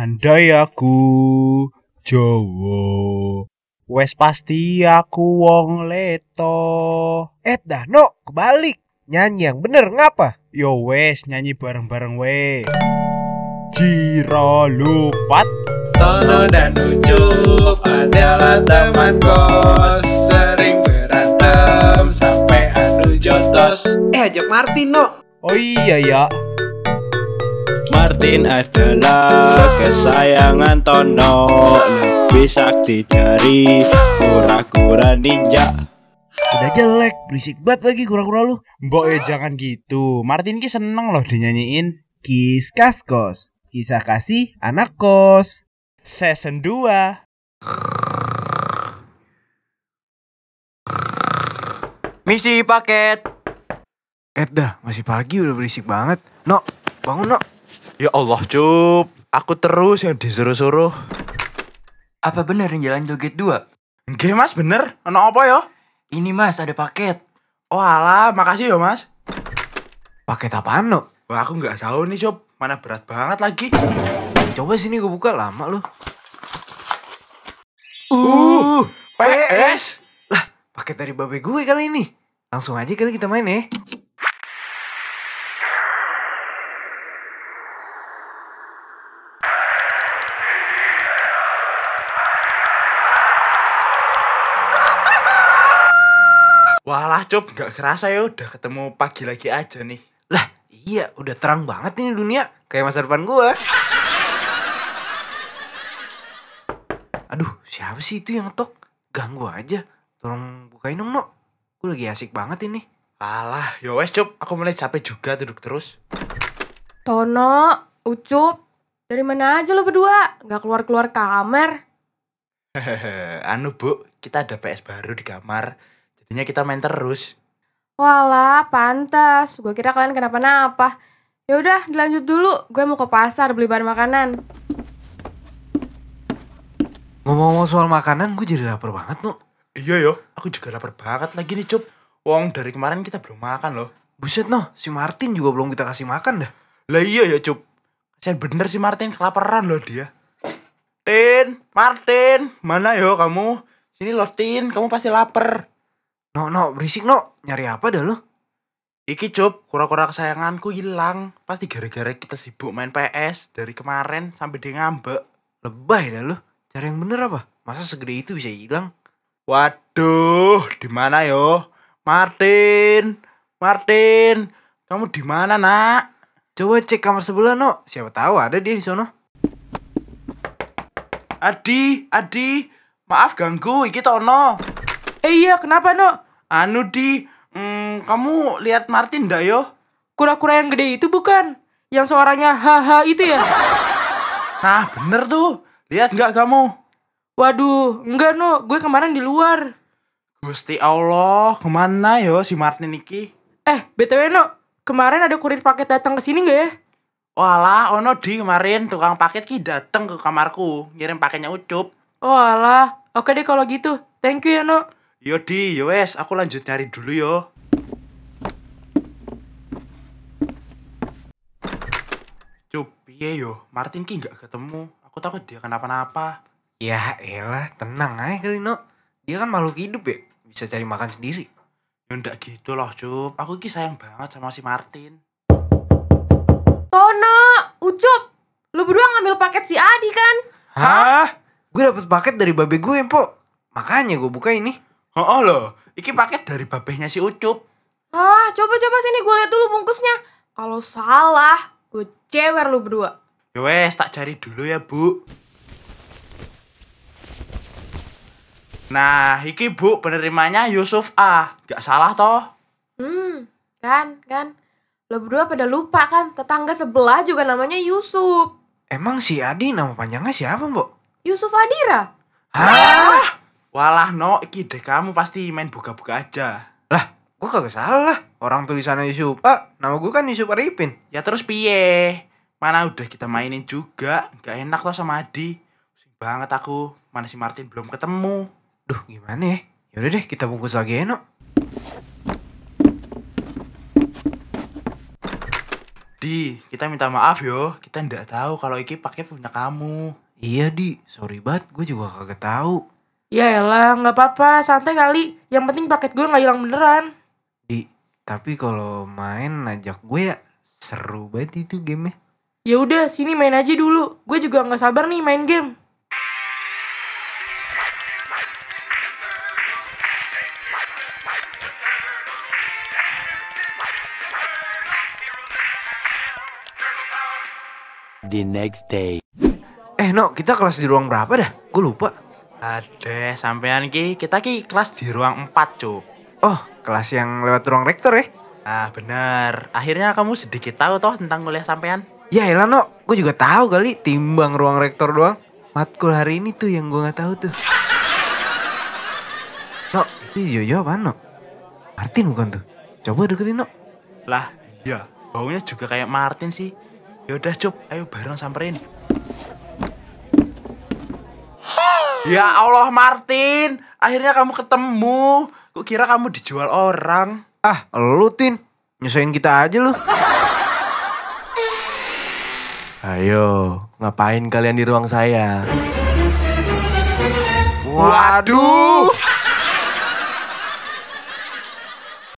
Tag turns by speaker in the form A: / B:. A: Andai aku Jawa, wes pasti aku wong leto.
B: Eh, Dano, kebalik. Nyanyi yang bener ngapa?
A: Yo wes nyanyi bareng-bareng we. Jiro lupat
C: Tono dan Ucup adalah teman kos Sering berantem sampai adu jotos
B: Eh, ajak Martin, no.
A: Oh iya ya
C: Martin adalah kesayangan Tono Lebih sakti dari kura-kura ninja
B: Udah jelek, berisik banget lagi kura-kura lu.
A: Mbok ya jangan gitu Martin ki seneng loh dinyanyiin
B: Kiskas kos, kisah kasih anak kos.
A: Season 2
D: Misi paket.
E: Edda, Eh, masih pagi udah berisik banget. No, bangun no.
D: Ya Allah, Cup. Aku terus yang disuruh-suruh.
F: Apa bener yang jalan joget dua?
D: Nggih, Mas, bener. Ono apa ya?
F: Ini mas ada paket.
D: Oh alah, makasih ya, Mas.
E: Paket apaan no?
D: Wah, aku nggak tahu nih, Cup. Mana berat banget lagi.
E: Coba sini gue buka lama lu.
D: Uh, PS.
E: Paket dari babe gue kali ini. Langsung aja kali kita main ya.
D: Walah, Cup, nggak kerasa ya udah ketemu pagi lagi aja nih.
E: Lah, iya udah terang banget ini dunia. Kayak masa depan gue. Aduh, siapa sih itu yang ngetok? Ganggu aja. Tolong bukain dong no. Gue lagi asik banget ini.
D: Alah, ya wes, Cup. Aku mulai capek juga duduk terus.
G: Tono, Ucup, dari mana aja lo berdua? Gak keluar-keluar kamar.
D: Hehehe, anu, Bu, kita ada PS baru di kamar. Jadinya kita main terus.
G: Walah, pantas. Gue kira kalian kenapa-napa. Ya udah, dilanjut dulu. Gue mau ke pasar beli bahan makanan.
E: Ngomong-ngomong soal makanan, gue jadi lapar banget no.
D: Iya yo, aku juga lapar banget lagi nih Cup. Wong dari kemarin kita belum makan loh.
E: Buset no, si Martin juga belum kita kasih makan dah.
D: Lah iya ya Cup. Kasian bener si Martin kelaparan loh dia. Tin, Martin, mana yo kamu? Sini loh Tin, kamu pasti lapar.
E: No, no, berisik no. Nyari apa dah lo?
D: Iki Cup, kura-kura kesayanganku hilang. Pasti gara-gara kita sibuk main PS dari kemarin sampai dia ngambek.
E: Lebay dah lo. Cari yang bener apa? Masa segede itu bisa hilang?
D: Waduh, di mana yo? Martin, Martin, kamu di mana nak?
E: Coba cek kamar sebelah no. Siapa tahu ada dia di sono.
D: Adi, Adi, maaf ganggu, iki Tono.
H: Eh iya, kenapa no?
D: Anu di, mm, kamu lihat Martin ndak yo?
H: Kura-kura yang gede itu bukan? Kan, Yang suaranya haha itu ya?
D: Nah bener tuh, lihat nggak kamu?
H: Waduh, enggak no, gue kemarin di luar.
D: Gusti Allah, kemana yo si Martin iki?
H: Eh, BTW no, kemarin ada kurir paket datang ke sini nggak ya?
D: Walah, ono di kemarin tukang paket ki dateng ke kamarku, ngirim paketnya ucup.
H: Oh alah, oke deh kalau gitu. Thank you ya no.
D: Yo di, yo wes, aku lanjut nyari dulu yo. Cup, piye yo? Martin ki nggak ketemu. Aku takut dia kenapa-napa.
E: Ya elah, tenang aja kali no. Dia kan makhluk hidup ya. Bisa cari makan sendiri.
D: Yo ndak gitu loh, Cup. Aku ki sayang banget sama si Martin.
G: Tono, Ucup, lo berdua ngambil paket si Adi kan?
D: Hah?
E: Gue dapet paket dari babe gue, Po. Makanya gue buka ini.
D: Oh loh, iki paket dari babehnya si Ucup.
G: Ah, coba-coba sini gue lihat dulu bungkusnya. Kalau salah, gue cewer lo berdua.
D: Ya wes, tak cari dulu ya, Bu. Nah, iki Bu penerimanya Yusuf A. Gak salah toh?
G: Hmm, kan, kan. Lo berdua pada lupa kan, tetangga sebelah juga namanya Yusuf.
E: Emang si Adi nama panjangnya siapa, Mbok?
G: Yusuf Adira.
D: Hah? Walah no, iki deh kamu pasti main buka-buka aja.
E: Gue kagak salah lah. Orang tulisannya Yusuf A. Nama gue kan Yusuf Arifin.
D: Ya terus piye? Mana udah kita mainin juga, gak enak toh sama Adi. Pusing banget aku, mana si Martin belum ketemu.
E: Duh, gimana ya? Yaudah deh, kita bungkus lagi ya, no.
D: Di Di, kita minta maaf yo. Kita ndak tahu kalau iki pakai punya kamu.
E: Iya di, sorry banget gue juga kagak tahu.
H: Ya elah, nggak apa-apa, santai kali. Yang penting paket gue nggak hilang beneran.
E: Di, tapi kalau main ajak gue ya seru banget itu game
H: Ya udah, sini main aja dulu. Gue juga nggak sabar nih main game.
E: Eh no, kita kelas di ruang berapa dah? Gue lupa.
D: Ada sampean ki, kita ki kelas di ruang 4, Cuk.
E: Oh, kelas yang lewat ruang rektor ya?
D: Ah, benar. Akhirnya kamu sedikit tahu toh tentang kuliah sampean.
E: Ya elah no, gue juga tahu kali timbang ruang rektor doang. Matkul hari ini tuh yang gue nggak tahu tuh. No, itu Jojo apaan no? Martin bukan tuh. Coba deketin no.
D: Lah, iya. Baunya juga kayak Martin sih. Yaudah, Cup. Ayo bareng samperin. Ya Allah, Martin. Akhirnya kamu ketemu. Kukira kamu dijual orang.
E: Ah, lu Tin. Nyusahin kita aja lu.
C: Ayo, ngapain kalian di ruang saya?
E: Waduh.